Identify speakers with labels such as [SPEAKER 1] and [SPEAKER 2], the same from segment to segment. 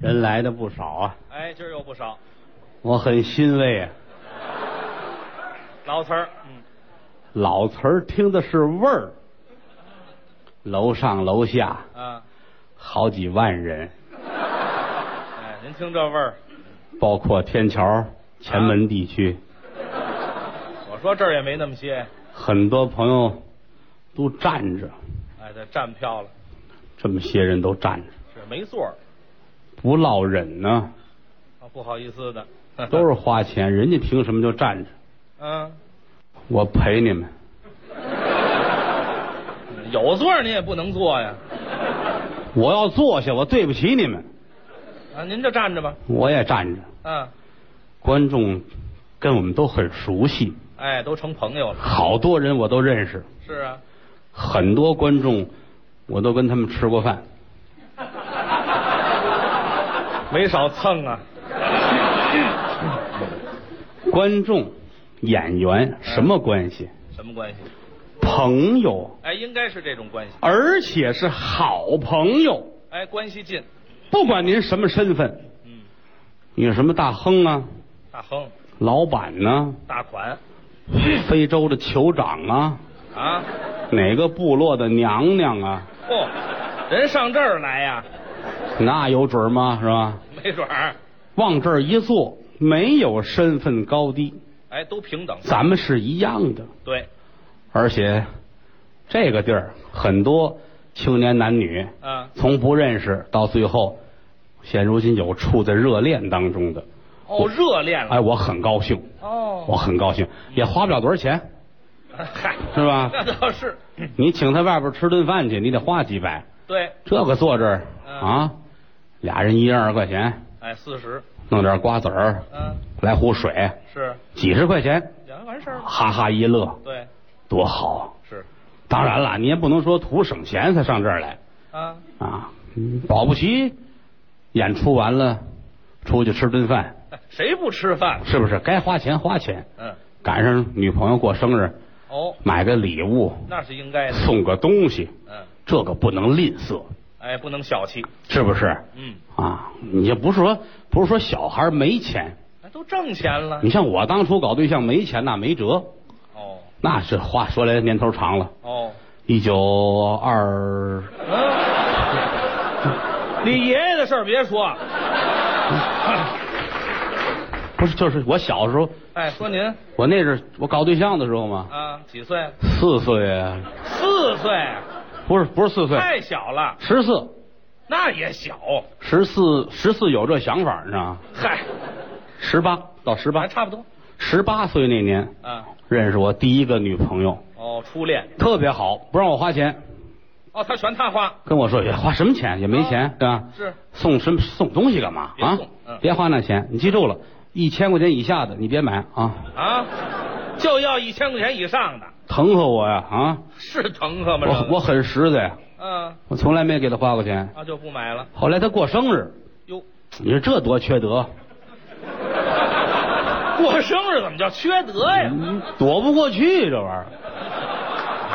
[SPEAKER 1] 人来的不少啊，
[SPEAKER 2] 哎，今儿又不少，
[SPEAKER 1] 我很欣慰啊。
[SPEAKER 2] 老词儿，嗯，
[SPEAKER 1] 老词儿听的是味儿，楼上楼下
[SPEAKER 2] 啊，
[SPEAKER 1] 好几万人，
[SPEAKER 2] 哎，您听这味儿，
[SPEAKER 1] 包括天桥、前门地区，
[SPEAKER 2] 我说这儿也没那么些，
[SPEAKER 1] 很多朋友都站着，
[SPEAKER 2] 哎，这站票了，
[SPEAKER 1] 这么些人都站着，
[SPEAKER 2] 是没座儿，
[SPEAKER 1] 不落忍呢，
[SPEAKER 2] 啊，不好意思的，
[SPEAKER 1] 都是花钱，人家凭什么就站着？
[SPEAKER 2] 嗯，
[SPEAKER 1] 我陪你们，
[SPEAKER 2] 有座儿您也不能坐呀，
[SPEAKER 1] 我要坐下，我对不起你们，
[SPEAKER 2] 啊，您就站着吧，
[SPEAKER 1] 我也站着。
[SPEAKER 2] 嗯，
[SPEAKER 1] 观众跟我们都很熟悉，
[SPEAKER 2] 哎，都成朋友了，
[SPEAKER 1] 好多人我都认识，
[SPEAKER 2] 是啊，
[SPEAKER 1] 很多观众我都跟他们吃过饭。
[SPEAKER 2] 没少蹭啊，
[SPEAKER 1] 观众、演员什么关系？
[SPEAKER 2] 什么关系？
[SPEAKER 1] 朋友，
[SPEAKER 2] 哎，应该是这种关系，
[SPEAKER 1] 而且是好朋友。
[SPEAKER 2] 哎，关系近，
[SPEAKER 1] 不管您什么身份，
[SPEAKER 2] 嗯，
[SPEAKER 1] 你是什么大亨啊，
[SPEAKER 2] 大亨，
[SPEAKER 1] 老板呢、
[SPEAKER 2] 大款
[SPEAKER 1] 非洲的酋长啊，
[SPEAKER 2] 啊，
[SPEAKER 1] 哪个部落的娘娘啊，
[SPEAKER 2] 嚯、人上这儿来呀，
[SPEAKER 1] 那有准儿吗？是吧？
[SPEAKER 2] 没准儿，
[SPEAKER 1] 往这儿一坐，没有身份高低，
[SPEAKER 2] 哎，都平等，
[SPEAKER 1] 咱们是一样的。
[SPEAKER 2] 对，
[SPEAKER 1] 而且这个地儿很多青年男女，
[SPEAKER 2] 啊，
[SPEAKER 1] 从不认识到最后，现如今有处在热恋当中的，
[SPEAKER 2] 哦，热恋了，
[SPEAKER 1] 哎，我很高兴，
[SPEAKER 2] 哦
[SPEAKER 1] 我很高兴，也花不了多少钱，
[SPEAKER 2] 嗨，
[SPEAKER 1] 是吧？
[SPEAKER 2] 那倒是，
[SPEAKER 1] 你请他外边吃顿饭去，你得花几百，
[SPEAKER 2] 对，
[SPEAKER 1] 这个坐这儿
[SPEAKER 2] 嗯
[SPEAKER 1] 啊，俩人一人二十块钱，
[SPEAKER 2] 哎，四十，
[SPEAKER 1] 弄点瓜子儿，
[SPEAKER 2] 嗯，
[SPEAKER 1] 来壶水，
[SPEAKER 2] 是，
[SPEAKER 1] 几十块钱，
[SPEAKER 2] 两完事 儿了，
[SPEAKER 1] 哈哈一乐，
[SPEAKER 2] 对，
[SPEAKER 1] 多好！
[SPEAKER 2] 是，
[SPEAKER 1] 当然了，你也不能说图省钱才上这儿来
[SPEAKER 2] 啊，
[SPEAKER 1] 啊，嗯保不齐演出完了出去吃顿饭。
[SPEAKER 2] 哎谁不吃饭？
[SPEAKER 1] 是不是该花钱花钱？
[SPEAKER 2] 嗯，
[SPEAKER 1] 赶上女朋友过生日，
[SPEAKER 2] 哦，
[SPEAKER 1] 买个礼物，
[SPEAKER 2] 那是应该的，
[SPEAKER 1] 送个东西，
[SPEAKER 2] 嗯，
[SPEAKER 1] 这个不能吝啬，
[SPEAKER 2] 哎，不能小气，
[SPEAKER 1] 是不是？
[SPEAKER 2] 嗯，
[SPEAKER 1] 啊，你也不是说不是说小孩没钱，
[SPEAKER 2] 哎，都挣钱了，
[SPEAKER 1] 你像我当初搞对象没钱那没辙，
[SPEAKER 2] 哦，
[SPEAKER 1] 那是话说来年头长了，
[SPEAKER 2] 哦，
[SPEAKER 1] 一九二
[SPEAKER 2] 嗯，你啊爷爷的事儿别说，
[SPEAKER 1] 不是就是我小时候，
[SPEAKER 2] 哎，说您
[SPEAKER 1] 我那是我搞对象的时候嘛，
[SPEAKER 2] 啊，几岁？
[SPEAKER 1] 四岁啊，
[SPEAKER 2] 四岁，
[SPEAKER 1] 不是不是四岁，
[SPEAKER 2] 太小了，
[SPEAKER 1] 十四
[SPEAKER 2] 那也小，
[SPEAKER 1] 十四十四有这想法你知道吗？
[SPEAKER 2] 嗨，
[SPEAKER 1] 十八到十八
[SPEAKER 2] 还，差不多，
[SPEAKER 1] 十八岁那年，
[SPEAKER 2] 啊，
[SPEAKER 1] 认识我第一个女朋友，
[SPEAKER 2] 哦，初恋，
[SPEAKER 1] 特别好，不让我花钱，
[SPEAKER 2] 哦，他全他花，
[SPEAKER 1] 跟我说也花什么钱也没钱，对吧？
[SPEAKER 2] 是，
[SPEAKER 1] 送什么送东西干嘛
[SPEAKER 2] 啊别
[SPEAKER 1] 啊
[SPEAKER 2] 送？嗯
[SPEAKER 1] 别花那钱，你记住了，一千块钱以下的你别买啊，
[SPEAKER 2] 啊，就要一千块钱以上的，
[SPEAKER 1] 疼和我呀啊！
[SPEAKER 2] 是疼呵吗？这
[SPEAKER 1] 我
[SPEAKER 2] 个
[SPEAKER 1] 我很实在，
[SPEAKER 2] 嗯
[SPEAKER 1] 我从来没给她花过钱。
[SPEAKER 2] 啊就不买了。
[SPEAKER 1] 后来她过生日，
[SPEAKER 2] 哟，
[SPEAKER 1] 你说这多缺德，
[SPEAKER 2] 过生日怎么叫缺德呀？
[SPEAKER 1] 嗯躲不过去这玩意儿，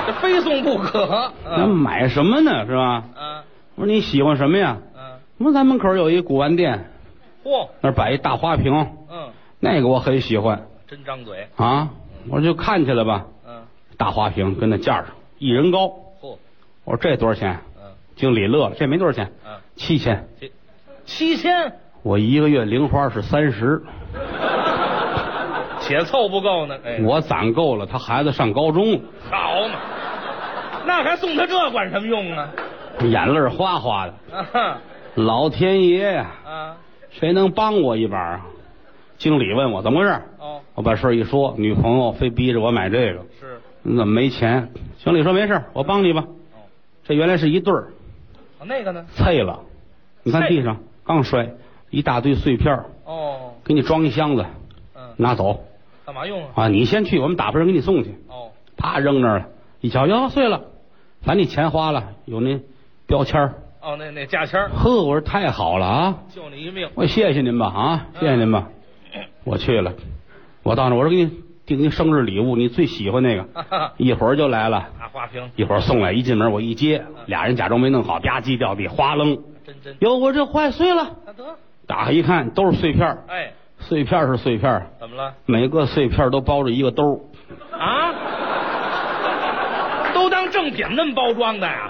[SPEAKER 2] 这非送不可。
[SPEAKER 1] 那
[SPEAKER 2] 嗯
[SPEAKER 1] 买什么呢？是吧？
[SPEAKER 2] 嗯
[SPEAKER 1] 我说你喜欢什么呀？
[SPEAKER 2] 嗯，
[SPEAKER 1] 我说咱门口有一古玩店，
[SPEAKER 2] 嚯，
[SPEAKER 1] 那儿摆一大花瓶，
[SPEAKER 2] 嗯，
[SPEAKER 1] 那个我很喜欢。
[SPEAKER 2] 真张嘴。
[SPEAKER 1] 啊，我说就看去了吧。
[SPEAKER 2] 嗯，
[SPEAKER 1] 大花瓶跟那架上一人高，
[SPEAKER 2] 嚯，
[SPEAKER 1] 我说这多少钱？
[SPEAKER 2] 嗯
[SPEAKER 1] 经理乐了，这没多少钱，
[SPEAKER 2] 嗯，
[SPEAKER 1] 七千。
[SPEAKER 2] 七七千，
[SPEAKER 1] 我一个月零花是三十，
[SPEAKER 2] 且凑不够呢。哎，
[SPEAKER 1] 我攒够了，他孩子上高中了，
[SPEAKER 2] 好嘛，那还送他这管什么用啊？
[SPEAKER 1] 眼泪哗哗的。
[SPEAKER 2] 啊哈
[SPEAKER 1] 老天爷呀，
[SPEAKER 2] 啊
[SPEAKER 1] 谁能帮我一把啊？经理问我怎么回事，
[SPEAKER 2] 哦，
[SPEAKER 1] 我把事儿一说，女朋友非逼着我买这个，
[SPEAKER 2] 是
[SPEAKER 1] 你怎么没钱？经理说没事儿，我帮你吧。
[SPEAKER 2] 哦，
[SPEAKER 1] 这原来是一对儿，
[SPEAKER 2] 哦那个呢？
[SPEAKER 1] 碎了，你看地上刚摔一大堆碎片儿
[SPEAKER 2] 哦，
[SPEAKER 1] 给你装一箱子，
[SPEAKER 2] 嗯，
[SPEAKER 1] 拿走
[SPEAKER 2] 干嘛用啊？
[SPEAKER 1] 啊！你先去，我们打发人给你送去。
[SPEAKER 2] 哦，
[SPEAKER 1] 啪，扔那儿了，一瞧，哟，碎了，反正你钱花了，有那标签儿。
[SPEAKER 2] 哦，那那价签儿
[SPEAKER 1] 呵，我说太好了啊！
[SPEAKER 2] 救你一命。
[SPEAKER 1] 我谢谢您吧啊，谢谢您吧。我去了，我到那儿我说给你订一生日礼物，你最喜欢那 个，
[SPEAKER 2] 哈哈
[SPEAKER 1] 一会儿就来了。
[SPEAKER 2] 大花瓶，
[SPEAKER 1] 一会儿送来，一进门我一接，俩人假装没弄好，吧唧掉地，哗楞，
[SPEAKER 2] 真真，
[SPEAKER 1] 有我这坏碎了。
[SPEAKER 2] 那得，
[SPEAKER 1] 打开一看，都是碎片儿
[SPEAKER 2] 哎，
[SPEAKER 1] 碎片儿是碎片儿，
[SPEAKER 2] 怎么了？
[SPEAKER 1] 每个碎片儿都包着一个兜儿。
[SPEAKER 2] 啊？ 都当正品那么包装的呀？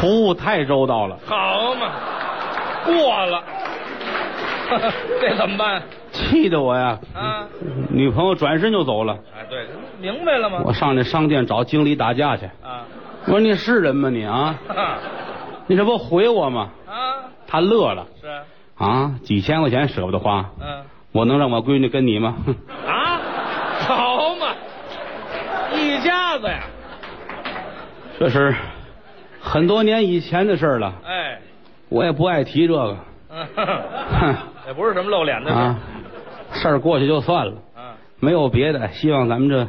[SPEAKER 1] 服务太周到了，
[SPEAKER 2] 好嘛，过了， 这怎么办？
[SPEAKER 1] 气得我呀！
[SPEAKER 2] 啊？
[SPEAKER 1] 女朋友转身就走了。
[SPEAKER 2] 哎，对，明白了吗？
[SPEAKER 1] 我上那商店找经理打架去。
[SPEAKER 2] 啊，
[SPEAKER 1] 我说你是人吗你啊？
[SPEAKER 2] 哈
[SPEAKER 1] 你这不回我吗？
[SPEAKER 2] 啊，
[SPEAKER 1] 他乐了
[SPEAKER 2] 是啊，
[SPEAKER 1] 啊，几千块钱舍不得花，
[SPEAKER 2] 嗯，
[SPEAKER 1] 我能让我闺女跟你吗？ 哼
[SPEAKER 2] 啊，好嘛，一家子呀，
[SPEAKER 1] 这是很多年以前的事儿了，
[SPEAKER 2] 哎，
[SPEAKER 1] 我也不爱提这个
[SPEAKER 2] 嗯，
[SPEAKER 1] 哼
[SPEAKER 2] 也不是什么露脸的事
[SPEAKER 1] 啊
[SPEAKER 2] 儿，，
[SPEAKER 1] 事儿过去就算了，
[SPEAKER 2] 啊
[SPEAKER 1] 没有别的，希望咱们这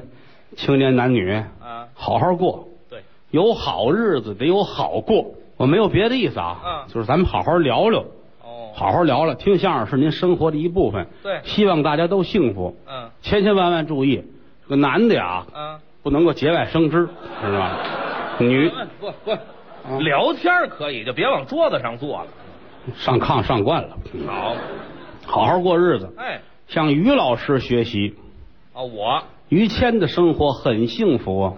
[SPEAKER 1] 青年男女
[SPEAKER 2] 啊，
[SPEAKER 1] 好好过，
[SPEAKER 2] 对，
[SPEAKER 1] 有好日子得有好过。我没有别的意思啊，
[SPEAKER 2] 嗯
[SPEAKER 1] 就是咱们好好聊聊，
[SPEAKER 2] 哦，，
[SPEAKER 1] 好好聊聊。听相声是您生活的一部分，
[SPEAKER 2] 对，
[SPEAKER 1] 希望大家都幸福。
[SPEAKER 2] 嗯
[SPEAKER 1] 千千万万注意，这个男的呀，
[SPEAKER 2] 嗯，
[SPEAKER 1] 不能够节外生枝，知道吗？女嗯
[SPEAKER 2] 不不，聊天儿可以，就别往桌子上坐了，
[SPEAKER 1] 上炕上惯了，
[SPEAKER 2] 好，
[SPEAKER 1] 好好过日子，
[SPEAKER 2] 哎，
[SPEAKER 1] 向于老师学习。
[SPEAKER 2] 啊我，
[SPEAKER 1] 于谦的生活很幸福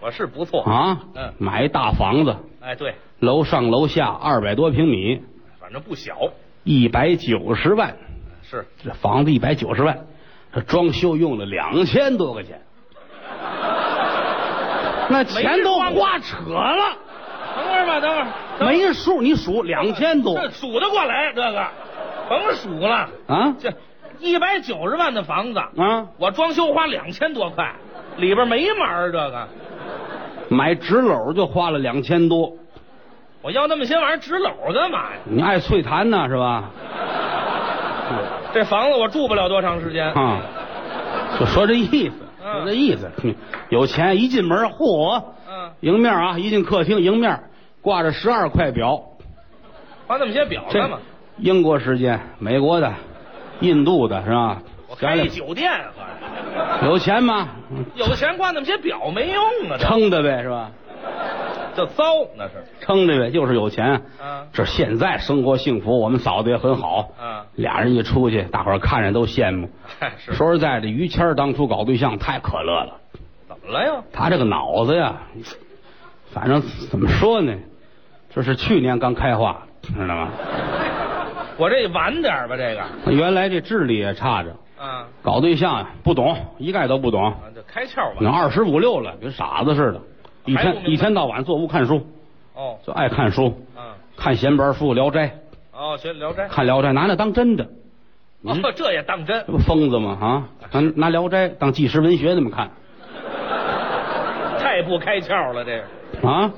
[SPEAKER 2] 我是不错，
[SPEAKER 1] 啊
[SPEAKER 2] 嗯，
[SPEAKER 1] 买一大房子，
[SPEAKER 2] 哎对，
[SPEAKER 1] 楼上楼下二百多平米，
[SPEAKER 2] 反正不小，
[SPEAKER 1] 一百九十万，
[SPEAKER 2] 是
[SPEAKER 1] 这房子一百九十万，这装修用了两千多块钱，那钱都花扯了，
[SPEAKER 2] 等会儿吧，等会儿，等会儿
[SPEAKER 1] 没数，你数两千多
[SPEAKER 2] 这数得过来，这个甭数了，
[SPEAKER 1] 啊
[SPEAKER 2] 这一百九十万的房子，
[SPEAKER 1] 啊！
[SPEAKER 2] 我装修花两千多块，里边没门儿，这个
[SPEAKER 1] 买纸篓就花了两千多，
[SPEAKER 2] 我要那么些玩意儿纸篓干嘛呀？
[SPEAKER 1] 你爱翠檀呢是吧？
[SPEAKER 2] 这房子我住不了多长时间，
[SPEAKER 1] 啊，就说这意思，
[SPEAKER 2] 嗯
[SPEAKER 1] 说这意思。哼有钱一进门，嚯，
[SPEAKER 2] 嗯，
[SPEAKER 1] 迎面啊，一进客厅，迎面挂着十二块表，
[SPEAKER 2] 花那么些表干嘛？
[SPEAKER 1] 英国时间、美国的、印度的是吧？
[SPEAKER 2] 我开一酒店，合着
[SPEAKER 1] 有钱吗？
[SPEAKER 2] 有钱挂那么些表没用啊，这
[SPEAKER 1] 撑着呗是吧？
[SPEAKER 2] 这糟那是，
[SPEAKER 1] 撑着呗，就是有钱。
[SPEAKER 2] 嗯
[SPEAKER 1] 这现在生活幸福，我们嫂子也很好。
[SPEAKER 2] 嗯，
[SPEAKER 1] 俩人一出去，大伙儿看着都羡慕。
[SPEAKER 2] 嗨哎是
[SPEAKER 1] 说实在的，于谦儿当初搞对象太可乐了。
[SPEAKER 2] 怎么了呀？
[SPEAKER 1] 他这个脑子呀，反正怎么说呢，这是去年刚开化，知道吗？
[SPEAKER 2] 我这晚点儿吧，这个
[SPEAKER 1] 原来这智力也差着，
[SPEAKER 2] 啊
[SPEAKER 1] 搞对象呀不懂，一概都不懂。
[SPEAKER 2] 啊，这开窍
[SPEAKER 1] 那
[SPEAKER 2] 吧，
[SPEAKER 1] 二十五六了，跟傻子似的，一
[SPEAKER 2] 还不
[SPEAKER 1] 天
[SPEAKER 2] 明白
[SPEAKER 1] 一天到晚坐屋看书，
[SPEAKER 2] 哦，
[SPEAKER 1] 就爱看书，
[SPEAKER 2] 嗯，
[SPEAKER 1] 看闲白书《聊斋
[SPEAKER 2] 哦，学《聊斋》》，
[SPEAKER 1] 看《聊斋》，拿那当真的，嗯
[SPEAKER 2] 哦，这也当真
[SPEAKER 1] 这，不疯子吗？啊，拿拿《聊斋》当纪实文学那么看
[SPEAKER 2] 太不开窍了，这个。
[SPEAKER 1] 啊，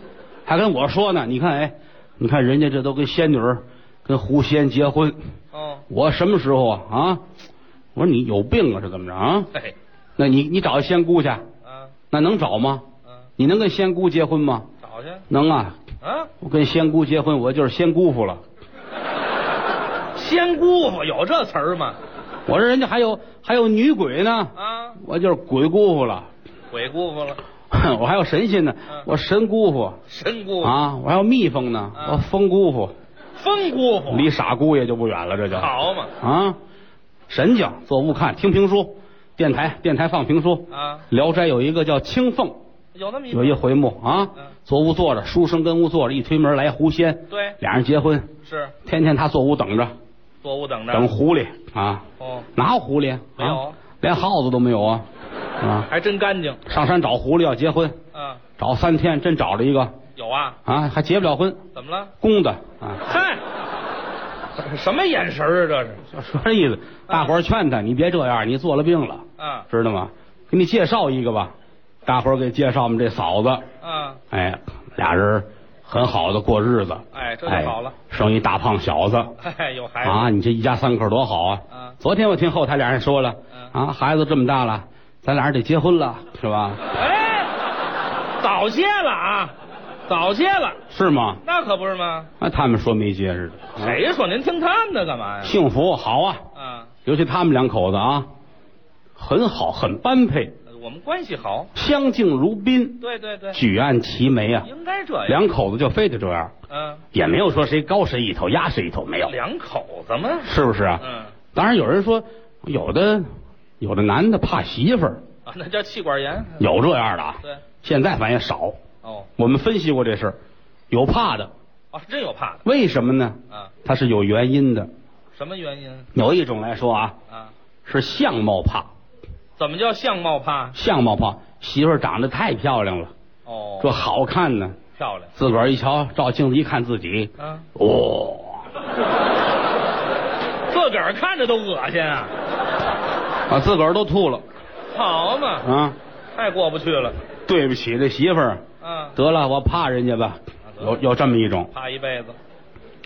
[SPEAKER 1] 还跟我说呢，你看，哎，你看人家这都跟仙女儿跟狐仙结婚。
[SPEAKER 2] 哦，
[SPEAKER 1] 我什么时候啊？啊，我说你有病啊，是怎么着啊？
[SPEAKER 2] 嘿，
[SPEAKER 1] 那你你找仙姑去，
[SPEAKER 2] 啊，
[SPEAKER 1] 那能找吗？
[SPEAKER 2] 嗯，
[SPEAKER 1] 你能跟仙姑结婚吗？
[SPEAKER 2] 找去
[SPEAKER 1] 能啊，
[SPEAKER 2] 啊！
[SPEAKER 1] 我跟仙姑结婚，我就是仙姑父了。
[SPEAKER 2] 仙姑父有这词儿吗？
[SPEAKER 1] 我说人家还有还有女鬼呢，
[SPEAKER 2] 啊，
[SPEAKER 1] 我就是鬼姑父了。
[SPEAKER 2] 鬼姑父了，
[SPEAKER 1] 我还有神仙呢
[SPEAKER 2] 嗯，
[SPEAKER 1] 我神姑父
[SPEAKER 2] 神姑父，
[SPEAKER 1] 啊，我还有蜜蜂呢，
[SPEAKER 2] 嗯
[SPEAKER 1] 我风姑父，
[SPEAKER 2] 疯姑父，
[SPEAKER 1] 离傻姑爷就不远了，这就
[SPEAKER 2] 好嘛
[SPEAKER 1] 啊，神经坐屋看，听评书，电台电台放评书，
[SPEAKER 2] 啊，
[SPEAKER 1] 《聊斋》有一个叫青凤，
[SPEAKER 2] 有那么一
[SPEAKER 1] 有一回幕啊
[SPEAKER 2] 嗯，
[SPEAKER 1] 坐屋坐着，书生跟屋坐着，一推门来狐仙，
[SPEAKER 2] 对
[SPEAKER 1] 俩人结婚，
[SPEAKER 2] 是
[SPEAKER 1] 天天他坐屋等着，
[SPEAKER 2] 坐屋等着
[SPEAKER 1] 等狐狸啊，
[SPEAKER 2] 哦，
[SPEAKER 1] 哪有狐狸？啊
[SPEAKER 2] 嗯没有，
[SPEAKER 1] 连耗子都没有啊，啊，
[SPEAKER 2] 还真干净
[SPEAKER 1] 上山找狐狸要结婚，
[SPEAKER 2] 啊，
[SPEAKER 1] 找三天真找着一个
[SPEAKER 2] 有啊？
[SPEAKER 1] 啊，还结不了婚，
[SPEAKER 2] 怎么了？
[SPEAKER 1] 公的啊，
[SPEAKER 2] 嗨，什么眼神儿啊？这是
[SPEAKER 1] 就说这意思，大伙儿劝他，你别这样，你做了病了，
[SPEAKER 2] 啊
[SPEAKER 1] 知道吗？给你介绍一个吧，大伙儿给介绍我们这嫂子，
[SPEAKER 2] 啊，
[SPEAKER 1] 哎，俩人很好的过日子，
[SPEAKER 2] 哎，这就好了，
[SPEAKER 1] 哎，生一大胖小子
[SPEAKER 2] 哎，有孩子
[SPEAKER 1] 啊！你这一家三口多好啊！
[SPEAKER 2] 啊，
[SPEAKER 1] 昨天我听后台俩人说了，
[SPEAKER 2] 嗯
[SPEAKER 1] 啊，孩子这么大了，咱俩人得结婚了，是吧？
[SPEAKER 2] 哎，早些了啊，早些了，
[SPEAKER 1] 是吗？
[SPEAKER 2] 那可不是吗？
[SPEAKER 1] 啊，他们说没结似的，
[SPEAKER 2] 谁说您听他们的干嘛呀？
[SPEAKER 1] 幸福好啊！
[SPEAKER 2] 啊，
[SPEAKER 1] 尤其他们两口子啊，很好，很般配，
[SPEAKER 2] 我们关系好。
[SPEAKER 1] 相敬如宾，
[SPEAKER 2] 对对对，
[SPEAKER 1] 举案齐眉啊，
[SPEAKER 2] 应该这样。
[SPEAKER 1] 两口子就非得这样，
[SPEAKER 2] 嗯，
[SPEAKER 1] 也没有说谁高谁一头，压谁一头，没有，
[SPEAKER 2] 两口子嘛，
[SPEAKER 1] 是不是啊？
[SPEAKER 2] 嗯
[SPEAKER 1] 当然有人说，有的有的男的怕媳妇儿，
[SPEAKER 2] 啊，那叫气管炎。
[SPEAKER 1] 有这样的啊，
[SPEAKER 2] 对，
[SPEAKER 1] 现在反正少。
[SPEAKER 2] 哦，
[SPEAKER 1] 我们分析过这事儿，有怕的，
[SPEAKER 2] 哦，真有怕的
[SPEAKER 1] 为什么呢？
[SPEAKER 2] 啊？
[SPEAKER 1] 它是有原因的。
[SPEAKER 2] 什么原因
[SPEAKER 1] 有一种来说啊，
[SPEAKER 2] 啊？
[SPEAKER 1] 是相貌怕，
[SPEAKER 2] 怎么叫相貌怕？
[SPEAKER 1] 相貌怕，媳妇儿长得太漂亮了，
[SPEAKER 2] 哦，
[SPEAKER 1] 这好看呢，
[SPEAKER 2] 漂亮。
[SPEAKER 1] 自个儿一瞧，照镜子一看自己，
[SPEAKER 2] 啊，
[SPEAKER 1] 哦，
[SPEAKER 2] 自个儿看着都恶心啊！
[SPEAKER 1] 啊，自个儿都吐了
[SPEAKER 2] 好嘛，
[SPEAKER 1] 啊！
[SPEAKER 2] 太过不去了。
[SPEAKER 1] 对不起，这媳妇儿，
[SPEAKER 2] 啊，
[SPEAKER 1] 得了，我怕人家吧，有有这么一种，
[SPEAKER 2] 怕一辈子。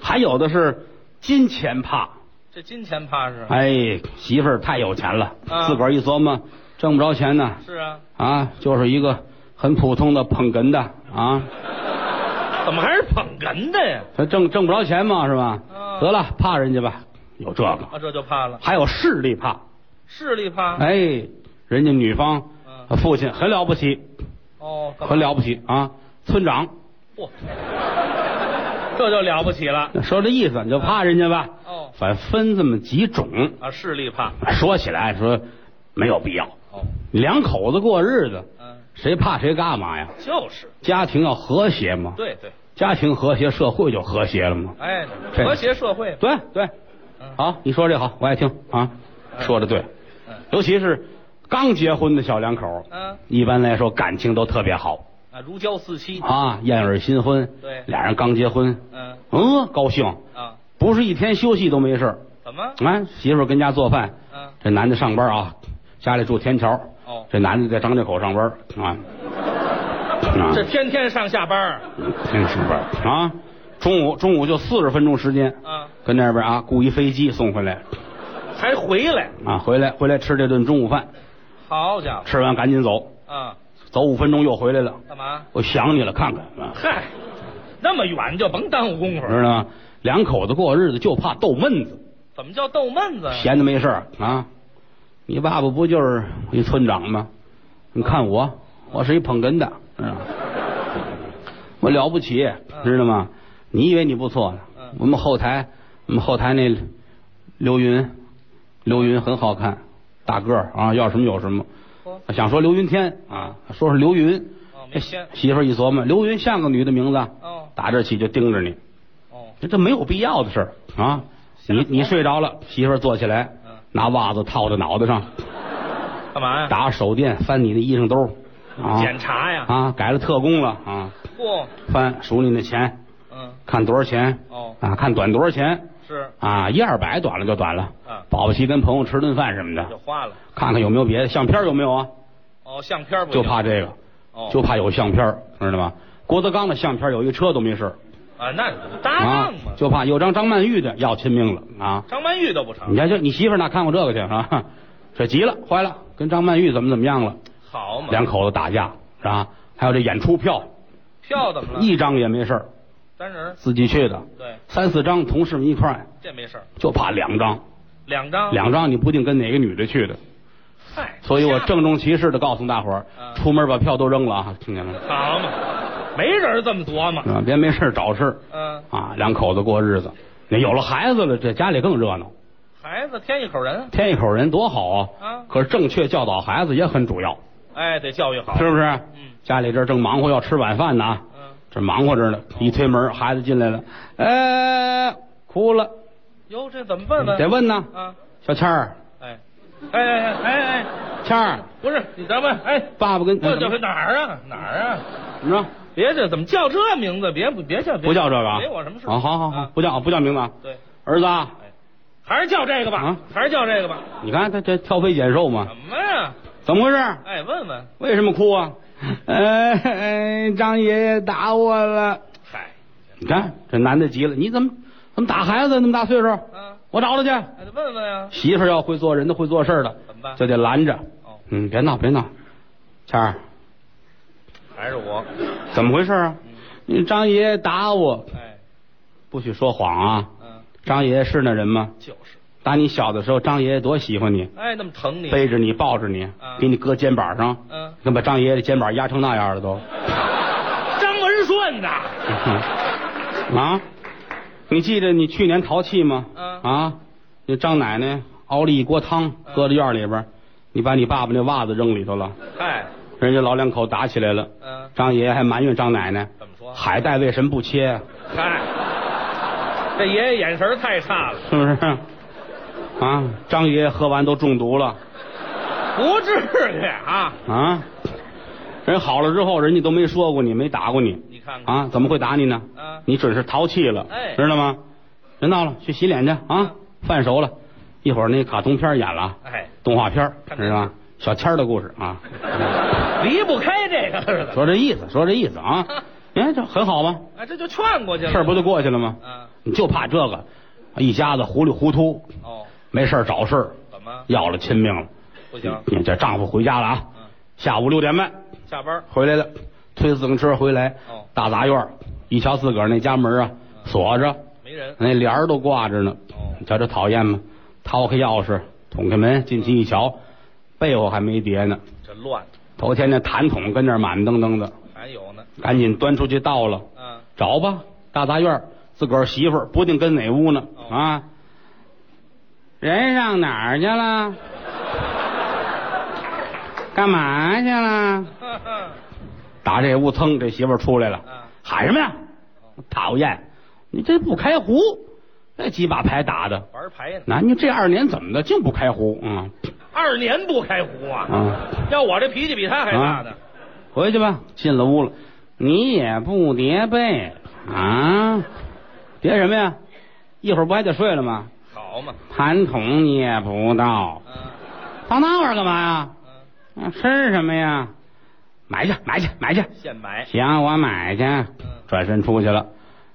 [SPEAKER 1] 还有的是金钱怕，
[SPEAKER 2] 这金钱怕是？
[SPEAKER 1] 哎，媳妇儿太有钱了，
[SPEAKER 2] 啊
[SPEAKER 1] 自个儿一琢磨，挣不着钱呢，
[SPEAKER 2] 是啊，
[SPEAKER 1] 啊，就是一个很普通的捧哏的啊，
[SPEAKER 2] 怎么还是捧哏的呀？
[SPEAKER 1] 他挣挣不着钱嘛，是吧？
[SPEAKER 2] 啊
[SPEAKER 1] 得了，怕人家吧，有这个，
[SPEAKER 2] 啊，这就怕了。
[SPEAKER 1] 还有势力怕，
[SPEAKER 2] 啊势力怕？
[SPEAKER 1] 哎，人家女方
[SPEAKER 2] 嗯，
[SPEAKER 1] 父亲很了不起，
[SPEAKER 2] 哦，干嘛
[SPEAKER 1] 很了不起啊，村长，
[SPEAKER 2] 嚯，这就了不起了。
[SPEAKER 1] 说这意思你就怕人家吧，
[SPEAKER 2] 哦，
[SPEAKER 1] 反正分这么几种，
[SPEAKER 2] 啊，势力怕。
[SPEAKER 1] 说起来说没有必要，
[SPEAKER 2] 哦，
[SPEAKER 1] 两口子过日子，
[SPEAKER 2] 嗯，
[SPEAKER 1] 谁怕谁干嘛呀？
[SPEAKER 2] 就是，
[SPEAKER 1] 家庭要和谐嘛，
[SPEAKER 2] 对对，
[SPEAKER 1] 家庭和谐，社会就和谐了嘛。
[SPEAKER 2] 哎，
[SPEAKER 1] 这
[SPEAKER 2] 和谐社会。
[SPEAKER 1] 对对，
[SPEAKER 2] 嗯，
[SPEAKER 1] 好，你说这好，我爱听啊， 说的对，
[SPEAKER 2] 嗯
[SPEAKER 1] 尤其是刚结婚的小两口，
[SPEAKER 2] 嗯
[SPEAKER 1] 一般来说感情都特别好
[SPEAKER 2] 啊，如胶似漆。
[SPEAKER 1] 啊，燕尔新婚，
[SPEAKER 2] 对
[SPEAKER 1] 俩人刚结婚，
[SPEAKER 2] 嗯
[SPEAKER 1] 嗯，高兴，
[SPEAKER 2] 啊，
[SPEAKER 1] 不是一天休息都没事儿。
[SPEAKER 2] 怎么？
[SPEAKER 1] 哎，媳妇儿跟家做饭，
[SPEAKER 2] 嗯，
[SPEAKER 1] 这男的上班啊，家里住天桥，
[SPEAKER 2] 哦，
[SPEAKER 1] 这男的在张家口上班啊，啊，
[SPEAKER 2] 这天天上下班儿
[SPEAKER 1] 天上班啊，中午中午就四十分钟时间，
[SPEAKER 2] 啊，
[SPEAKER 1] 跟那边啊雇一飞机送回来
[SPEAKER 2] 还回来，
[SPEAKER 1] 啊，回来回来吃这顿中午饭，
[SPEAKER 2] 好家
[SPEAKER 1] 吃完赶紧走，
[SPEAKER 2] 伙啊，
[SPEAKER 1] 走五分钟又回来了，
[SPEAKER 2] 干嘛？
[SPEAKER 1] 我想你了，看看啊，
[SPEAKER 2] 嗨，那么远就甭耽误功夫。
[SPEAKER 1] 知道吗？两口子过日子就怕逗闷子，
[SPEAKER 2] 怎么叫逗闷子呀？
[SPEAKER 1] 闲的没事儿啊。你爸爸不就是一村长吗？你看我，我是一捧哏的，知道吗？我了不起，知道吗？你以为你不错呢
[SPEAKER 2] 嗯？
[SPEAKER 1] 我们后台，我们后台那刘云，刘云很好看，大个儿啊，要什么有什么。
[SPEAKER 2] 嚯
[SPEAKER 1] 想说刘云天啊，说是刘云，
[SPEAKER 2] 哦，没天
[SPEAKER 1] 媳妇儿一琢磨，刘云像个女的名字，
[SPEAKER 2] 哦
[SPEAKER 1] 打这起就盯着你，
[SPEAKER 2] 哦，
[SPEAKER 1] 这这没有必要的事儿啊！你你睡着了，媳妇儿坐起来
[SPEAKER 2] 嗯，
[SPEAKER 1] 拿袜子套在脑袋上，
[SPEAKER 2] 干嘛呀？
[SPEAKER 1] 打手电翻你的衣裳兜，啊
[SPEAKER 2] 啊检查呀？
[SPEAKER 1] 啊，改了特工了啊，
[SPEAKER 2] 嚯，
[SPEAKER 1] 翻数你那钱，
[SPEAKER 2] 嗯，
[SPEAKER 1] 看多少钱
[SPEAKER 2] 哦，
[SPEAKER 1] 啊，看短多少钱
[SPEAKER 2] 是
[SPEAKER 1] 啊，一二百短了就短了，
[SPEAKER 2] 啊，
[SPEAKER 1] 保不齐跟朋友吃顿饭什么
[SPEAKER 2] 就
[SPEAKER 1] 的，
[SPEAKER 2] 花了。
[SPEAKER 1] 看看有没有别的相片有没有啊，
[SPEAKER 2] 哦，相片不
[SPEAKER 1] 就
[SPEAKER 2] 行
[SPEAKER 1] 怕这个，
[SPEAKER 2] 哦，
[SPEAKER 1] 就怕有相片，知道吗？郭德纲的相片有一车都没事
[SPEAKER 2] 啊，那不搭
[SPEAKER 1] 啊
[SPEAKER 2] 档嘛，。
[SPEAKER 1] 就怕有张张曼玉的要亲命了啊。
[SPEAKER 2] 张曼玉都不成
[SPEAKER 1] 你，看，就你媳妇儿哪看过这个去啊？ 这急了，坏了，跟张曼玉怎么怎么样了？
[SPEAKER 2] 好嘛，
[SPEAKER 1] 两口子打架是吧？还有这演出票，
[SPEAKER 2] 票怎么了？
[SPEAKER 1] 一张也没事儿，
[SPEAKER 2] 单人儿，
[SPEAKER 1] 自己去的，
[SPEAKER 2] 对，
[SPEAKER 1] 三四张，同事们一块儿，
[SPEAKER 2] 这没事儿，
[SPEAKER 1] 就怕两张，
[SPEAKER 2] 两张，
[SPEAKER 1] 两张你不定跟哪个女的去的，
[SPEAKER 2] 嗨，
[SPEAKER 1] 所以我
[SPEAKER 2] 吓
[SPEAKER 1] 郑重其事的告诉大伙儿，
[SPEAKER 2] 嗯
[SPEAKER 1] 出门把票都扔了啊，听见了？
[SPEAKER 2] 好嘛，没人这么琢磨
[SPEAKER 1] 是。吧别没事儿找事儿
[SPEAKER 2] 嗯，
[SPEAKER 1] 啊，两口子过日子，那有了孩子了，这家里更热闹，
[SPEAKER 2] 孩子添一口人
[SPEAKER 1] 添一口人多好啊！
[SPEAKER 2] 啊，
[SPEAKER 1] 可是正确教导孩子也很主要，
[SPEAKER 2] 哎，得教育好。
[SPEAKER 1] 是不是？
[SPEAKER 2] 嗯
[SPEAKER 1] 家里这儿正忙活要吃晚饭呢啊，
[SPEAKER 2] 嗯，
[SPEAKER 1] 这忙活着呢，一推门，孩子进来了，哎，哭了，
[SPEAKER 2] 哟，这怎么问
[SPEAKER 1] 得
[SPEAKER 2] 问？
[SPEAKER 1] 问呢。
[SPEAKER 2] 啊，
[SPEAKER 1] 小倩儿，
[SPEAKER 2] 哎，哎哎哎哎哎，
[SPEAKER 1] 倩儿，
[SPEAKER 2] 不是你咱们哎，
[SPEAKER 1] 爸爸跟呃
[SPEAKER 2] 这这
[SPEAKER 1] 怎么
[SPEAKER 2] 是哪儿啊哪儿啊？
[SPEAKER 1] 怎么着？
[SPEAKER 2] 别这怎么叫这名字？别不别叫别
[SPEAKER 1] 不叫这个啊？
[SPEAKER 2] 没我什么事
[SPEAKER 1] 啊，好好好，
[SPEAKER 2] 啊
[SPEAKER 1] 不叫不叫名字啊。
[SPEAKER 2] 对，
[SPEAKER 1] 儿子啊，
[SPEAKER 2] 还是叫这个吧，
[SPEAKER 1] 啊
[SPEAKER 2] 还是叫这个吧。
[SPEAKER 1] 你看他这挑肥拣瘦嘛
[SPEAKER 2] 什，么呀？
[SPEAKER 1] 怎么回事？
[SPEAKER 2] 哎，问问，
[SPEAKER 1] 为什么哭 啊？呃、哎，张爷爷打我了。
[SPEAKER 2] 嗨，
[SPEAKER 1] 你看这男的急了，你怎么怎么打孩子？那么大岁数，
[SPEAKER 2] 啊，
[SPEAKER 1] 我找他去。
[SPEAKER 2] 哎，得问问呀，
[SPEAKER 1] 媳妇儿要会做人的，会做事儿的，
[SPEAKER 2] 怎么办？
[SPEAKER 1] 就得拦着。
[SPEAKER 2] 哦，
[SPEAKER 1] 嗯，别闹，别闹，倩儿，
[SPEAKER 2] 还是我，嗯
[SPEAKER 1] 怎么回事啊？你张爷爷打我，
[SPEAKER 2] 哎，
[SPEAKER 1] 不许说谎啊！
[SPEAKER 2] 嗯，
[SPEAKER 1] 张爷爷是那人吗？
[SPEAKER 2] 就是，
[SPEAKER 1] 打你小的时候，张爷爷多喜欢你，
[SPEAKER 2] 哎，那么疼你，
[SPEAKER 1] 背着你，抱着你，
[SPEAKER 2] 啊
[SPEAKER 1] 给你搁肩膀上，
[SPEAKER 2] 嗯
[SPEAKER 1] 跟把张爷爷的肩膀压成那样了都。
[SPEAKER 2] 张文顺呐，
[SPEAKER 1] 啊，你记得你去年淘气吗？
[SPEAKER 2] 嗯
[SPEAKER 1] 啊，那张奶奶熬了一锅汤，
[SPEAKER 2] 嗯
[SPEAKER 1] 搁在院里边儿，你把你爸爸那袜子扔里头了，
[SPEAKER 2] 哎，
[SPEAKER 1] 人家老两口打起来了。
[SPEAKER 2] 嗯，
[SPEAKER 1] 张爷爷还埋怨张奶奶
[SPEAKER 2] 怎么说？
[SPEAKER 1] 海带为什么不切啊呀、
[SPEAKER 2] 嗨，这爷爷眼神儿太差了，
[SPEAKER 1] 是不是？啊，张爷爷喝完都中毒了
[SPEAKER 2] 不至于啊！
[SPEAKER 1] 啊！人好了之后，人家都没说过你，没打过你
[SPEAKER 2] 你看看，
[SPEAKER 1] 啊，怎么会打你呢？
[SPEAKER 2] 啊，
[SPEAKER 1] 你准是淘气了，
[SPEAKER 2] 哎
[SPEAKER 1] 知道吗？别闹了，去洗脸去啊！饭熟了，一会儿那卡通片演了啊，
[SPEAKER 2] 哎，
[SPEAKER 1] 动画片
[SPEAKER 2] 看电视
[SPEAKER 1] 知道吗？小千儿的故事啊，
[SPEAKER 2] 离不开这个似的，
[SPEAKER 1] 说这意思，说这意思 啊，你看这很好吗？
[SPEAKER 2] 哎，这就劝过去了，
[SPEAKER 1] 事儿不就过去了吗？
[SPEAKER 2] 啊？
[SPEAKER 1] 你就怕这个，一家子糊里糊涂，
[SPEAKER 2] 哦，
[SPEAKER 1] 没事儿找事儿，
[SPEAKER 2] 怎么
[SPEAKER 1] 要了亲命了。
[SPEAKER 2] 不行？
[SPEAKER 1] 你嗯这丈夫回家了啊，
[SPEAKER 2] 嗯，
[SPEAKER 1] 下午六点半
[SPEAKER 2] 下班儿
[SPEAKER 1] 回来了，推自行车回来
[SPEAKER 2] 哦，
[SPEAKER 1] 大杂院儿一瞧自个儿那家门啊锁着，
[SPEAKER 2] 没人，
[SPEAKER 1] 那帘儿都挂着呢
[SPEAKER 2] 哦，
[SPEAKER 1] 你瞧这讨厌吗？掏开钥匙，捅开门进去一瞧，被窝还没叠呢。
[SPEAKER 2] 这乱，
[SPEAKER 1] 头天那痰桶跟那儿满登登的，
[SPEAKER 2] 还有呢，
[SPEAKER 1] 赶紧端出去倒了，
[SPEAKER 2] 嗯，
[SPEAKER 1] 找吧，大杂院儿自个儿媳妇儿不定跟哪屋呢
[SPEAKER 2] 哦
[SPEAKER 1] 啊。人上哪儿去了？干嘛去了？
[SPEAKER 2] 呵呵
[SPEAKER 1] 打这屋噌，这媳妇儿出来了，
[SPEAKER 2] 嗯，
[SPEAKER 1] 喊什么呀？讨厌，你这不开壶，那几把牌打的，
[SPEAKER 2] 玩牌呢，
[SPEAKER 1] 男女这二年怎么的竟不开壶？嗯
[SPEAKER 2] 二年不开壶啊，
[SPEAKER 1] 啊，
[SPEAKER 2] 要我这脾气比他还大呢，
[SPEAKER 1] 回去吧。进了屋了，你也不叠被啊？叠什么呀？一会儿不还得睡了吗？
[SPEAKER 2] 好嘛，
[SPEAKER 1] 痰桶你也不倒，
[SPEAKER 2] 嗯
[SPEAKER 1] 到那玩干嘛呀？
[SPEAKER 2] 嗯，
[SPEAKER 1] 啊吃什么呀？买去，买去，买去。
[SPEAKER 2] 现买，
[SPEAKER 1] 行，我买去。转身出去了，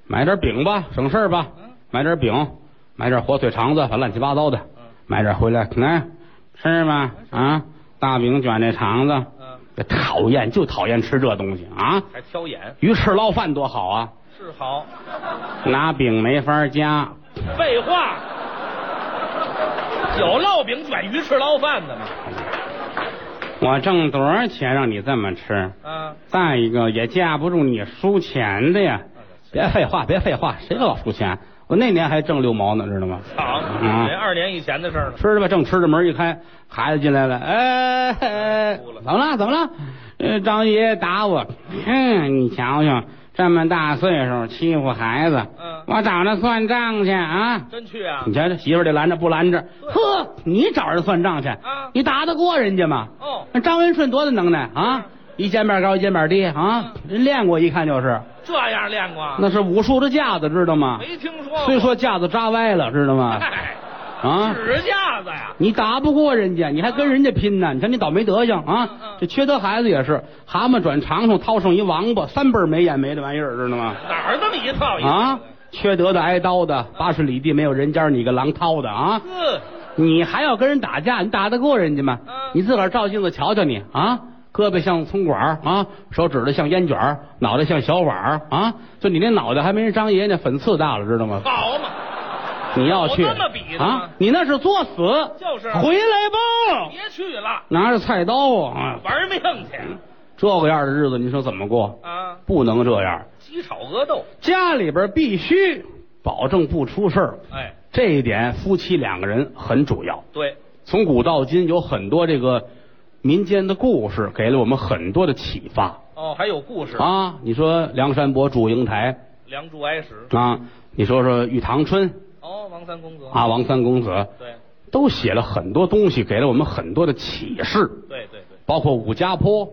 [SPEAKER 1] 买点饼吧，省事儿吧。
[SPEAKER 2] 嗯
[SPEAKER 1] 买点饼，买点火腿肠子，反正乱七八糟的。
[SPEAKER 2] 嗯
[SPEAKER 1] 买点回来，来吃吧啊！大饼卷这肠子，
[SPEAKER 2] 嗯，
[SPEAKER 1] 这讨厌就讨厌吃这东西啊！
[SPEAKER 2] 还挑眼，
[SPEAKER 1] 鱼翅捞饭多好啊，
[SPEAKER 2] 是好，
[SPEAKER 1] 拿饼没法夹，
[SPEAKER 2] 废话，有烙饼卷鱼翅捞饭的吗？
[SPEAKER 1] 我挣多少钱让你这么吃？
[SPEAKER 2] 啊，
[SPEAKER 1] 再一个也架不住你输钱的呀！别废话，别废话，谁老输钱？我那年还挣六毛呢，知道吗？
[SPEAKER 2] 好，
[SPEAKER 1] 嗯
[SPEAKER 2] 啊这二年以前的事儿了。
[SPEAKER 1] 吃着吧，正吃着，门一开，孩子进来了，哎，哎
[SPEAKER 2] 哭了
[SPEAKER 1] 怎么了？怎么了？呃，张爷爷打我。嗯，你瞧瞧，这么大岁数欺负孩子，
[SPEAKER 2] 嗯，
[SPEAKER 1] 我找他算账去啊！
[SPEAKER 2] 真去啊
[SPEAKER 1] 你？瞧这媳妇儿得拦着不拦着？呵，你找人算账去？
[SPEAKER 2] 啊
[SPEAKER 1] 你打得过人家吗？
[SPEAKER 2] 哦，
[SPEAKER 1] 那张文顺多大能耐
[SPEAKER 2] 嗯
[SPEAKER 1] 啊！一肩膀高，一肩膀低啊！人练过，一看就是，
[SPEAKER 2] 这样练过？啊
[SPEAKER 1] 那是武术的架子，知道吗？
[SPEAKER 2] 没听说过。
[SPEAKER 1] 虽说架子扎歪了，知道吗？
[SPEAKER 2] 哎，
[SPEAKER 1] 啊，
[SPEAKER 2] 指架子呀，
[SPEAKER 1] 你打不过人家，你还跟人家拼呢？你瞧你倒霉德行
[SPEAKER 2] 嗯
[SPEAKER 1] 啊
[SPEAKER 2] 嗯！
[SPEAKER 1] 这缺德孩子也是，蛤蟆转长虫，掏上一王八，三辈儿没眼没这玩意儿，知道吗？
[SPEAKER 2] 哪儿这么一套一套
[SPEAKER 1] 啊
[SPEAKER 2] 的？，
[SPEAKER 1] 缺德的挨刀的，八十里地没有人家，你个狼掏的啊！
[SPEAKER 2] 呵，
[SPEAKER 1] 你还要跟人打架，你打得过人家吗
[SPEAKER 2] 嗯？
[SPEAKER 1] 你自个儿照镜子瞧瞧你啊，胳膊像葱管儿啊，手指头像烟卷儿，脑袋像小碗儿啊，就你那脑袋还没人张爷爷那粉刺大了，知道吗？
[SPEAKER 2] 好嘛，
[SPEAKER 1] 你要去
[SPEAKER 2] 我这么比的吗
[SPEAKER 1] 啊？你那是作死，
[SPEAKER 2] 就是
[SPEAKER 1] 回来吧，
[SPEAKER 2] 别去了，
[SPEAKER 1] 拿着菜刀啊，
[SPEAKER 2] 玩命去
[SPEAKER 1] 这个样的日子你说怎么过？
[SPEAKER 2] 啊！
[SPEAKER 1] 不能这样，
[SPEAKER 2] 鸡炒鹅豆，
[SPEAKER 1] 家里边必须保证不出事儿，
[SPEAKER 2] 哎，
[SPEAKER 1] 这一点夫妻两个人很主要。
[SPEAKER 2] 对，
[SPEAKER 1] 从古到今，有很多这个民间的故事，给了我们很多的启发
[SPEAKER 2] 哦，还有故事，
[SPEAKER 1] 啊。你说梁山伯祝英台
[SPEAKER 2] 梁祝哀史，
[SPEAKER 1] 啊，你说说玉堂春
[SPEAKER 2] 哦，王三公子，
[SPEAKER 1] 啊，王三公子，
[SPEAKER 2] 对
[SPEAKER 1] 都写了很多东西，给了我们很多的启示，
[SPEAKER 2] 对对对，
[SPEAKER 1] 包括武家坡，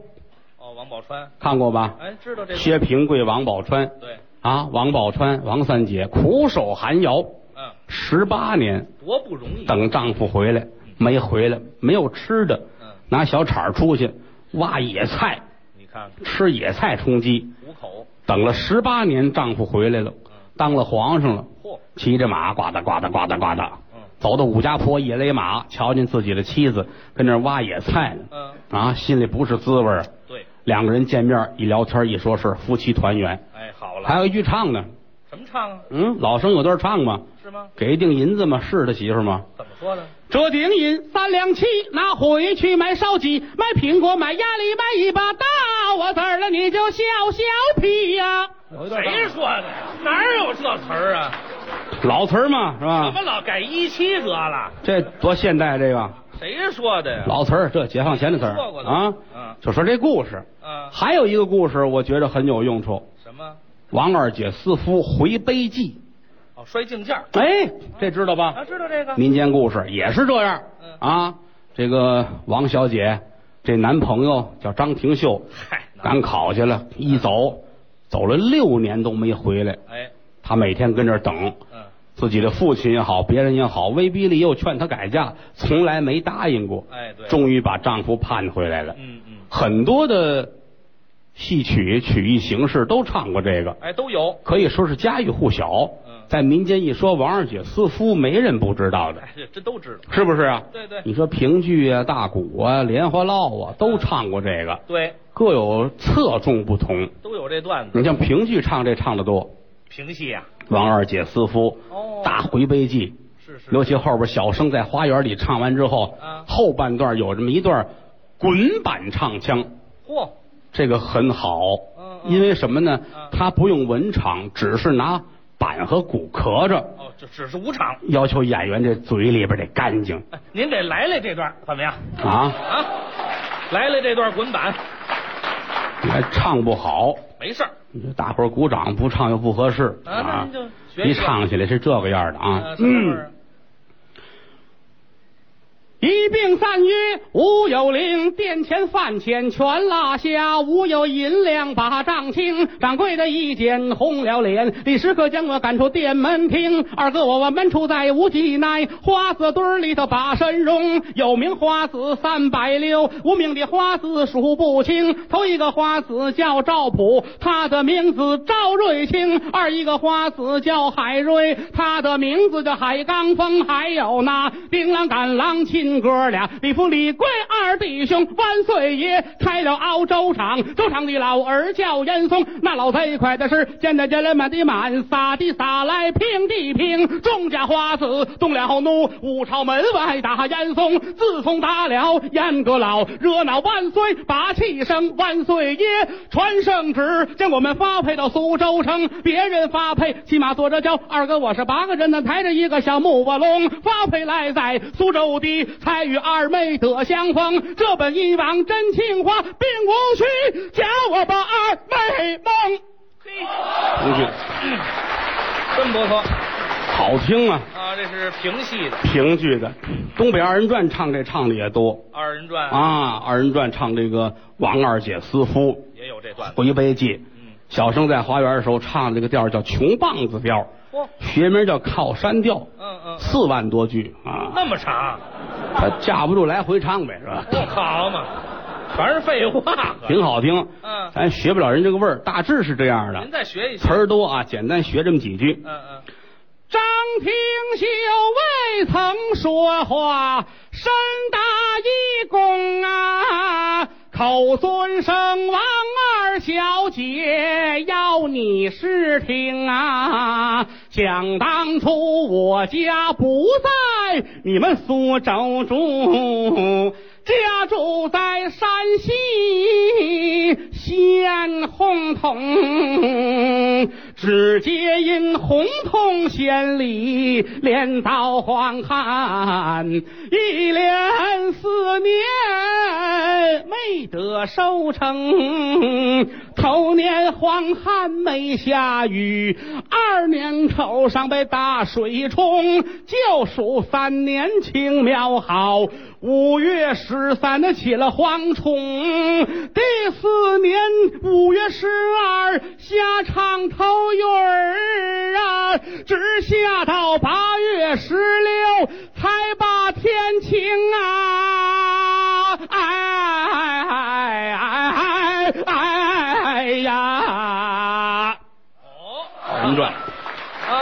[SPEAKER 2] 哦，王宝钏，
[SPEAKER 1] 看过吧？
[SPEAKER 2] 哎，知道这个，
[SPEAKER 1] 薛平贵、王宝钏
[SPEAKER 2] 对，
[SPEAKER 1] 啊，王宝钏、王三姐苦守寒窑
[SPEAKER 2] 嗯，
[SPEAKER 1] 十八年，
[SPEAKER 2] 多不容易，
[SPEAKER 1] 等丈夫回来没回来，没有吃的，
[SPEAKER 2] 嗯，
[SPEAKER 1] 拿小铲儿出去挖野菜，
[SPEAKER 2] 你看看
[SPEAKER 1] 吃野菜充饥。
[SPEAKER 2] 五口，嗯
[SPEAKER 1] 等了十八年，丈夫回来了，当了皇上了，
[SPEAKER 2] 嚯，
[SPEAKER 1] 骑着马呱嗒呱嗒呱嗒呱嗒，
[SPEAKER 2] 嗯
[SPEAKER 1] 走到武家坡野勒马，瞧见自己的妻子跟那儿挖野菜呢，
[SPEAKER 2] 嗯，
[SPEAKER 1] 啊，心里不是滋味儿。
[SPEAKER 2] 对，
[SPEAKER 1] 两个人见面一聊天一说事，夫妻团圆。
[SPEAKER 2] 哎，好了，
[SPEAKER 1] 还有一句唱呢，
[SPEAKER 2] 怎么唱啊？
[SPEAKER 1] 嗯，老生有段唱嘛，
[SPEAKER 2] 是吗？
[SPEAKER 1] 给定银子嘛，是他媳妇嘛。
[SPEAKER 2] 怎么说的？
[SPEAKER 1] 这锭银三两七，拿回去买烧鸡，买苹果，买鸭梨，买一把刀，我子儿了你就削削皮呀、
[SPEAKER 2] 有一段谁说的？哪有这词儿啊？
[SPEAKER 1] 老词儿嘛，是
[SPEAKER 2] 怎么
[SPEAKER 1] 吧？
[SPEAKER 2] 老改一七折了？
[SPEAKER 1] 这多现代这个
[SPEAKER 2] 谁说的呀？
[SPEAKER 1] 老词儿，这解放前的词儿
[SPEAKER 2] 说过的
[SPEAKER 1] 啊
[SPEAKER 2] 嗯。
[SPEAKER 1] 就说这故事，
[SPEAKER 2] 啊，
[SPEAKER 1] 还有一个故事，我觉得很有用处。
[SPEAKER 2] 什么？
[SPEAKER 1] 王二姐思夫回悲记，
[SPEAKER 2] 哦，摔镜架儿
[SPEAKER 1] 哎，这知道吧？
[SPEAKER 2] 啊，知道这个？
[SPEAKER 1] 民间故事也是这样
[SPEAKER 2] 嗯
[SPEAKER 1] 啊。这个王小姐这男朋友叫张廷秀，
[SPEAKER 2] 嗨，那
[SPEAKER 1] 赶考去
[SPEAKER 2] 嗯
[SPEAKER 1] 了，一走走了六年都没回来。
[SPEAKER 2] 哎，
[SPEAKER 1] 她每天跟这儿等，
[SPEAKER 2] 嗯，
[SPEAKER 1] 自己的父亲也好，别人也好，威逼利诱劝她改嫁，从来没答应过。
[SPEAKER 2] 哎，对，
[SPEAKER 1] 终于把丈夫盼回来了。
[SPEAKER 2] 嗯嗯，
[SPEAKER 1] 很多的戏曲曲艺形式都唱过这个，
[SPEAKER 2] 哎，都有，
[SPEAKER 1] 可以说是家喻户晓
[SPEAKER 2] 嗯。
[SPEAKER 1] 在民间一说王二姐思夫，没人不知道的。
[SPEAKER 2] 哎，这这都知道。
[SPEAKER 1] 是不是啊？
[SPEAKER 2] 对对
[SPEAKER 1] 你说评剧啊、大鼓啊、莲花落啊，都唱过这个，
[SPEAKER 2] 对，
[SPEAKER 1] 各有侧重不同。
[SPEAKER 2] 都有这段子。
[SPEAKER 1] 你像评剧唱这唱的多，
[SPEAKER 2] 评戏呀，
[SPEAKER 1] 王二姐思夫、
[SPEAKER 2] 哦
[SPEAKER 1] 大回悲记，
[SPEAKER 2] 是是，
[SPEAKER 1] 尤其后边小生在花园里唱完之后，
[SPEAKER 2] 啊
[SPEAKER 1] 后半段有这么一段滚板唱腔，
[SPEAKER 2] 嚯，
[SPEAKER 1] 这个很好。
[SPEAKER 2] 嗯嗯
[SPEAKER 1] 因为什么呢
[SPEAKER 2] 嗯？
[SPEAKER 1] 他不用文场，只是拿板和鼓壳着，
[SPEAKER 2] 哦，这只是五场。
[SPEAKER 1] 要求演员这嘴里边得干净
[SPEAKER 2] 哎，您给来来这段怎么样？
[SPEAKER 1] 啊，
[SPEAKER 2] 啊，来来这段滚板，
[SPEAKER 1] 你还唱不好。
[SPEAKER 2] 没事儿。
[SPEAKER 1] 你说大伙儿鼓掌，不唱又不合适
[SPEAKER 2] 啊那您就学
[SPEAKER 1] 一
[SPEAKER 2] 学
[SPEAKER 1] 唱起来是这个样儿的啊
[SPEAKER 2] 呃，，什么味儿啊？
[SPEAKER 1] 一并三约，吾有零，殿前饭钱全落下，吾有银两把账清。掌柜的一见红了脸，立时刻将我赶出店门厅。二哥我们处在无计奈，花子堆儿里头把身容。有名花子三百六，无名的花子数不清。头一个花子叫赵普，他的名字赵瑞清；二一个花子叫海瑞，他的名字叫海刚峰。还有那丁郎、赶郎亲哥俩，李福、李贵二弟兄，万岁爷开了澳洲厂，州厂的老儿叫严嵩，那老贼快的是见的见来满地满，撒的撒来平地平，众家花子动了怒，五朝门外打严嵩，自从打了严阁老，热闹万岁，把气声万岁爷传圣旨，将我们发配到苏州城，别人发配骑马坐着轿，二哥我是八个人呢，抬着一个小木瓦笼，发配来在苏州地，才与二妹得相逢。这本一往真情话，并无虚假，我把二妹蒙。
[SPEAKER 2] 嘿，
[SPEAKER 1] 同学，
[SPEAKER 2] 真不错
[SPEAKER 1] 好听啊，
[SPEAKER 2] 啊！这是评戏的
[SPEAKER 1] 评剧的，东北二人转唱这唱的也多
[SPEAKER 2] 二人转，
[SPEAKER 1] 啊，二人转唱这个王二姐思夫
[SPEAKER 2] 也有这段子。
[SPEAKER 1] 回悲记。
[SPEAKER 2] 嗯，
[SPEAKER 1] 小生在花园的时候唱这个调儿叫穷棒子调儿，
[SPEAKER 2] 嚯，
[SPEAKER 1] 学名叫靠山调，
[SPEAKER 2] 嗯嗯，
[SPEAKER 1] 四万多句啊，
[SPEAKER 2] 那么长，
[SPEAKER 1] 他架不住来回唱呗，是吧？
[SPEAKER 2] 不好嘛，全是废话。啊
[SPEAKER 1] 挺好听，
[SPEAKER 2] 嗯
[SPEAKER 1] 咱学不了人这个味儿，大致是这样的。
[SPEAKER 2] 您再学一学
[SPEAKER 1] 词。儿多啊，简单学这么几句。
[SPEAKER 2] 嗯嗯，
[SPEAKER 1] 张廷秀未曾说话，身打一躬啊，口尊声王二小姐，要你试听啊。想当初我家不在你们苏州住，家住在山西县洪洞，只皆因洪洞县里连到黄汉，一连四年没得收成。头年黄旱没下雨，二年口上被大水冲，就数三年青苗好。五月十三的起了蝗虫，第四年五月十二下场头鱼儿啊，直下到八月十六才把天晴啊！哎哎哎哎哎呀！
[SPEAKER 2] 哦，
[SPEAKER 1] 二人转，啊
[SPEAKER 2] 啊，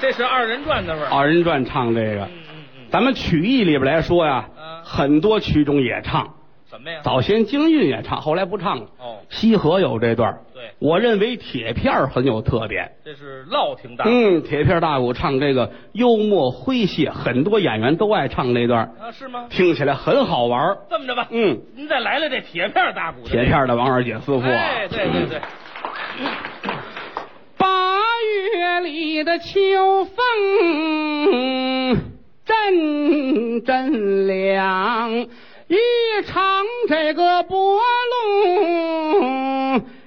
[SPEAKER 2] 这是二人转的味儿。
[SPEAKER 1] 二人转唱这个，
[SPEAKER 2] 嗯嗯嗯，
[SPEAKER 1] 咱们曲艺里边来说呀
[SPEAKER 2] 嗯，
[SPEAKER 1] 很多曲种也唱，
[SPEAKER 2] 怎么呀？
[SPEAKER 1] 早先京韵也唱，后来不唱了。
[SPEAKER 2] 哦
[SPEAKER 1] 西河有这段儿
[SPEAKER 2] 对
[SPEAKER 1] 我认为铁片儿很有特点。
[SPEAKER 2] 这是烙挺大。
[SPEAKER 1] 嗯，铁片大鼓唱这个幽默诙谐，很多演员都爱唱这段儿，
[SPEAKER 2] 啊，是吗？
[SPEAKER 1] 听起来很好玩儿。
[SPEAKER 2] 这么着吧，
[SPEAKER 1] 嗯，
[SPEAKER 2] 您再来来这铁片大鼓的。
[SPEAKER 1] 铁片儿的王二姐师傅啊，
[SPEAKER 2] 哎，对对对，
[SPEAKER 1] 八月里的秋风阵阵凉，一尝这个薄露，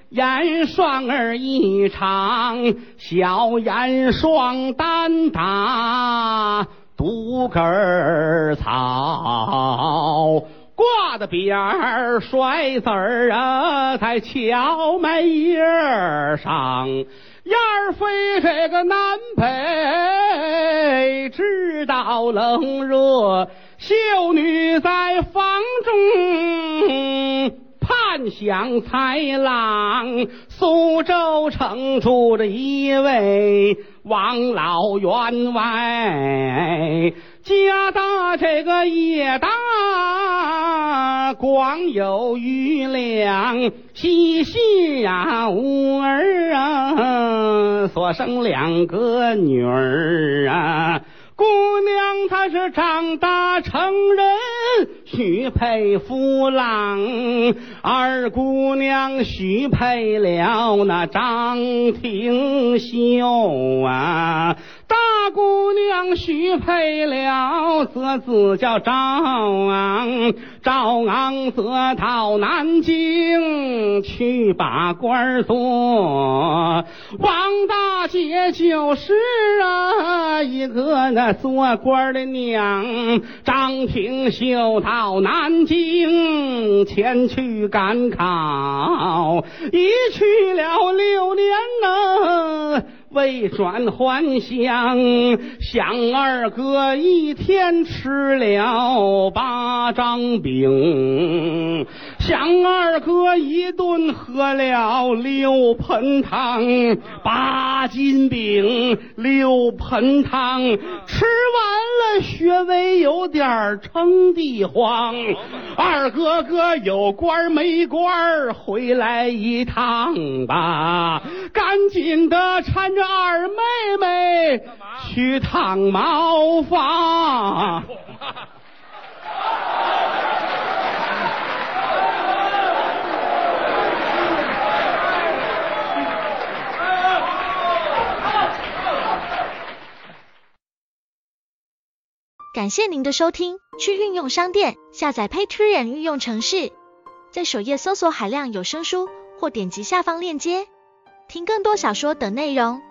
[SPEAKER 1] 严霜儿一场，小严霜单打独根儿草。挂的边儿甩子儿啊，在荞麦叶儿上，燕儿飞这个南北，知道冷热。秀女在房中盼想豺狼，苏州城住着一位王老员外，家大这个也大，广有余粮，西西呀五儿啊，所生两个女儿啊。姑娘她是长大成人，许配夫郎；二姑娘许配了那张廷秀啊，大姑娘许配了则子叫赵昂，赵昂则到南京去把官儿做。王大姐就是啊，一个那做官的娘。张廷秀到南京前去赶考，一去了六年呢。未转还乡，想二哥一天吃了八张饼，嗯想二哥一顿喝了六盆汤，八斤饼，六盆汤，吃完了学为有点儿撑地慌。二哥哥有官儿没官儿，回来一趟吧，赶紧的搀着二妹妹
[SPEAKER 2] 干嘛
[SPEAKER 1] 去烫毛发。
[SPEAKER 3] 感谢您的收听，去运用商店下载 Patreon 运用城市，在首页搜索海量有声书，或点击下方链接听更多小说等内容。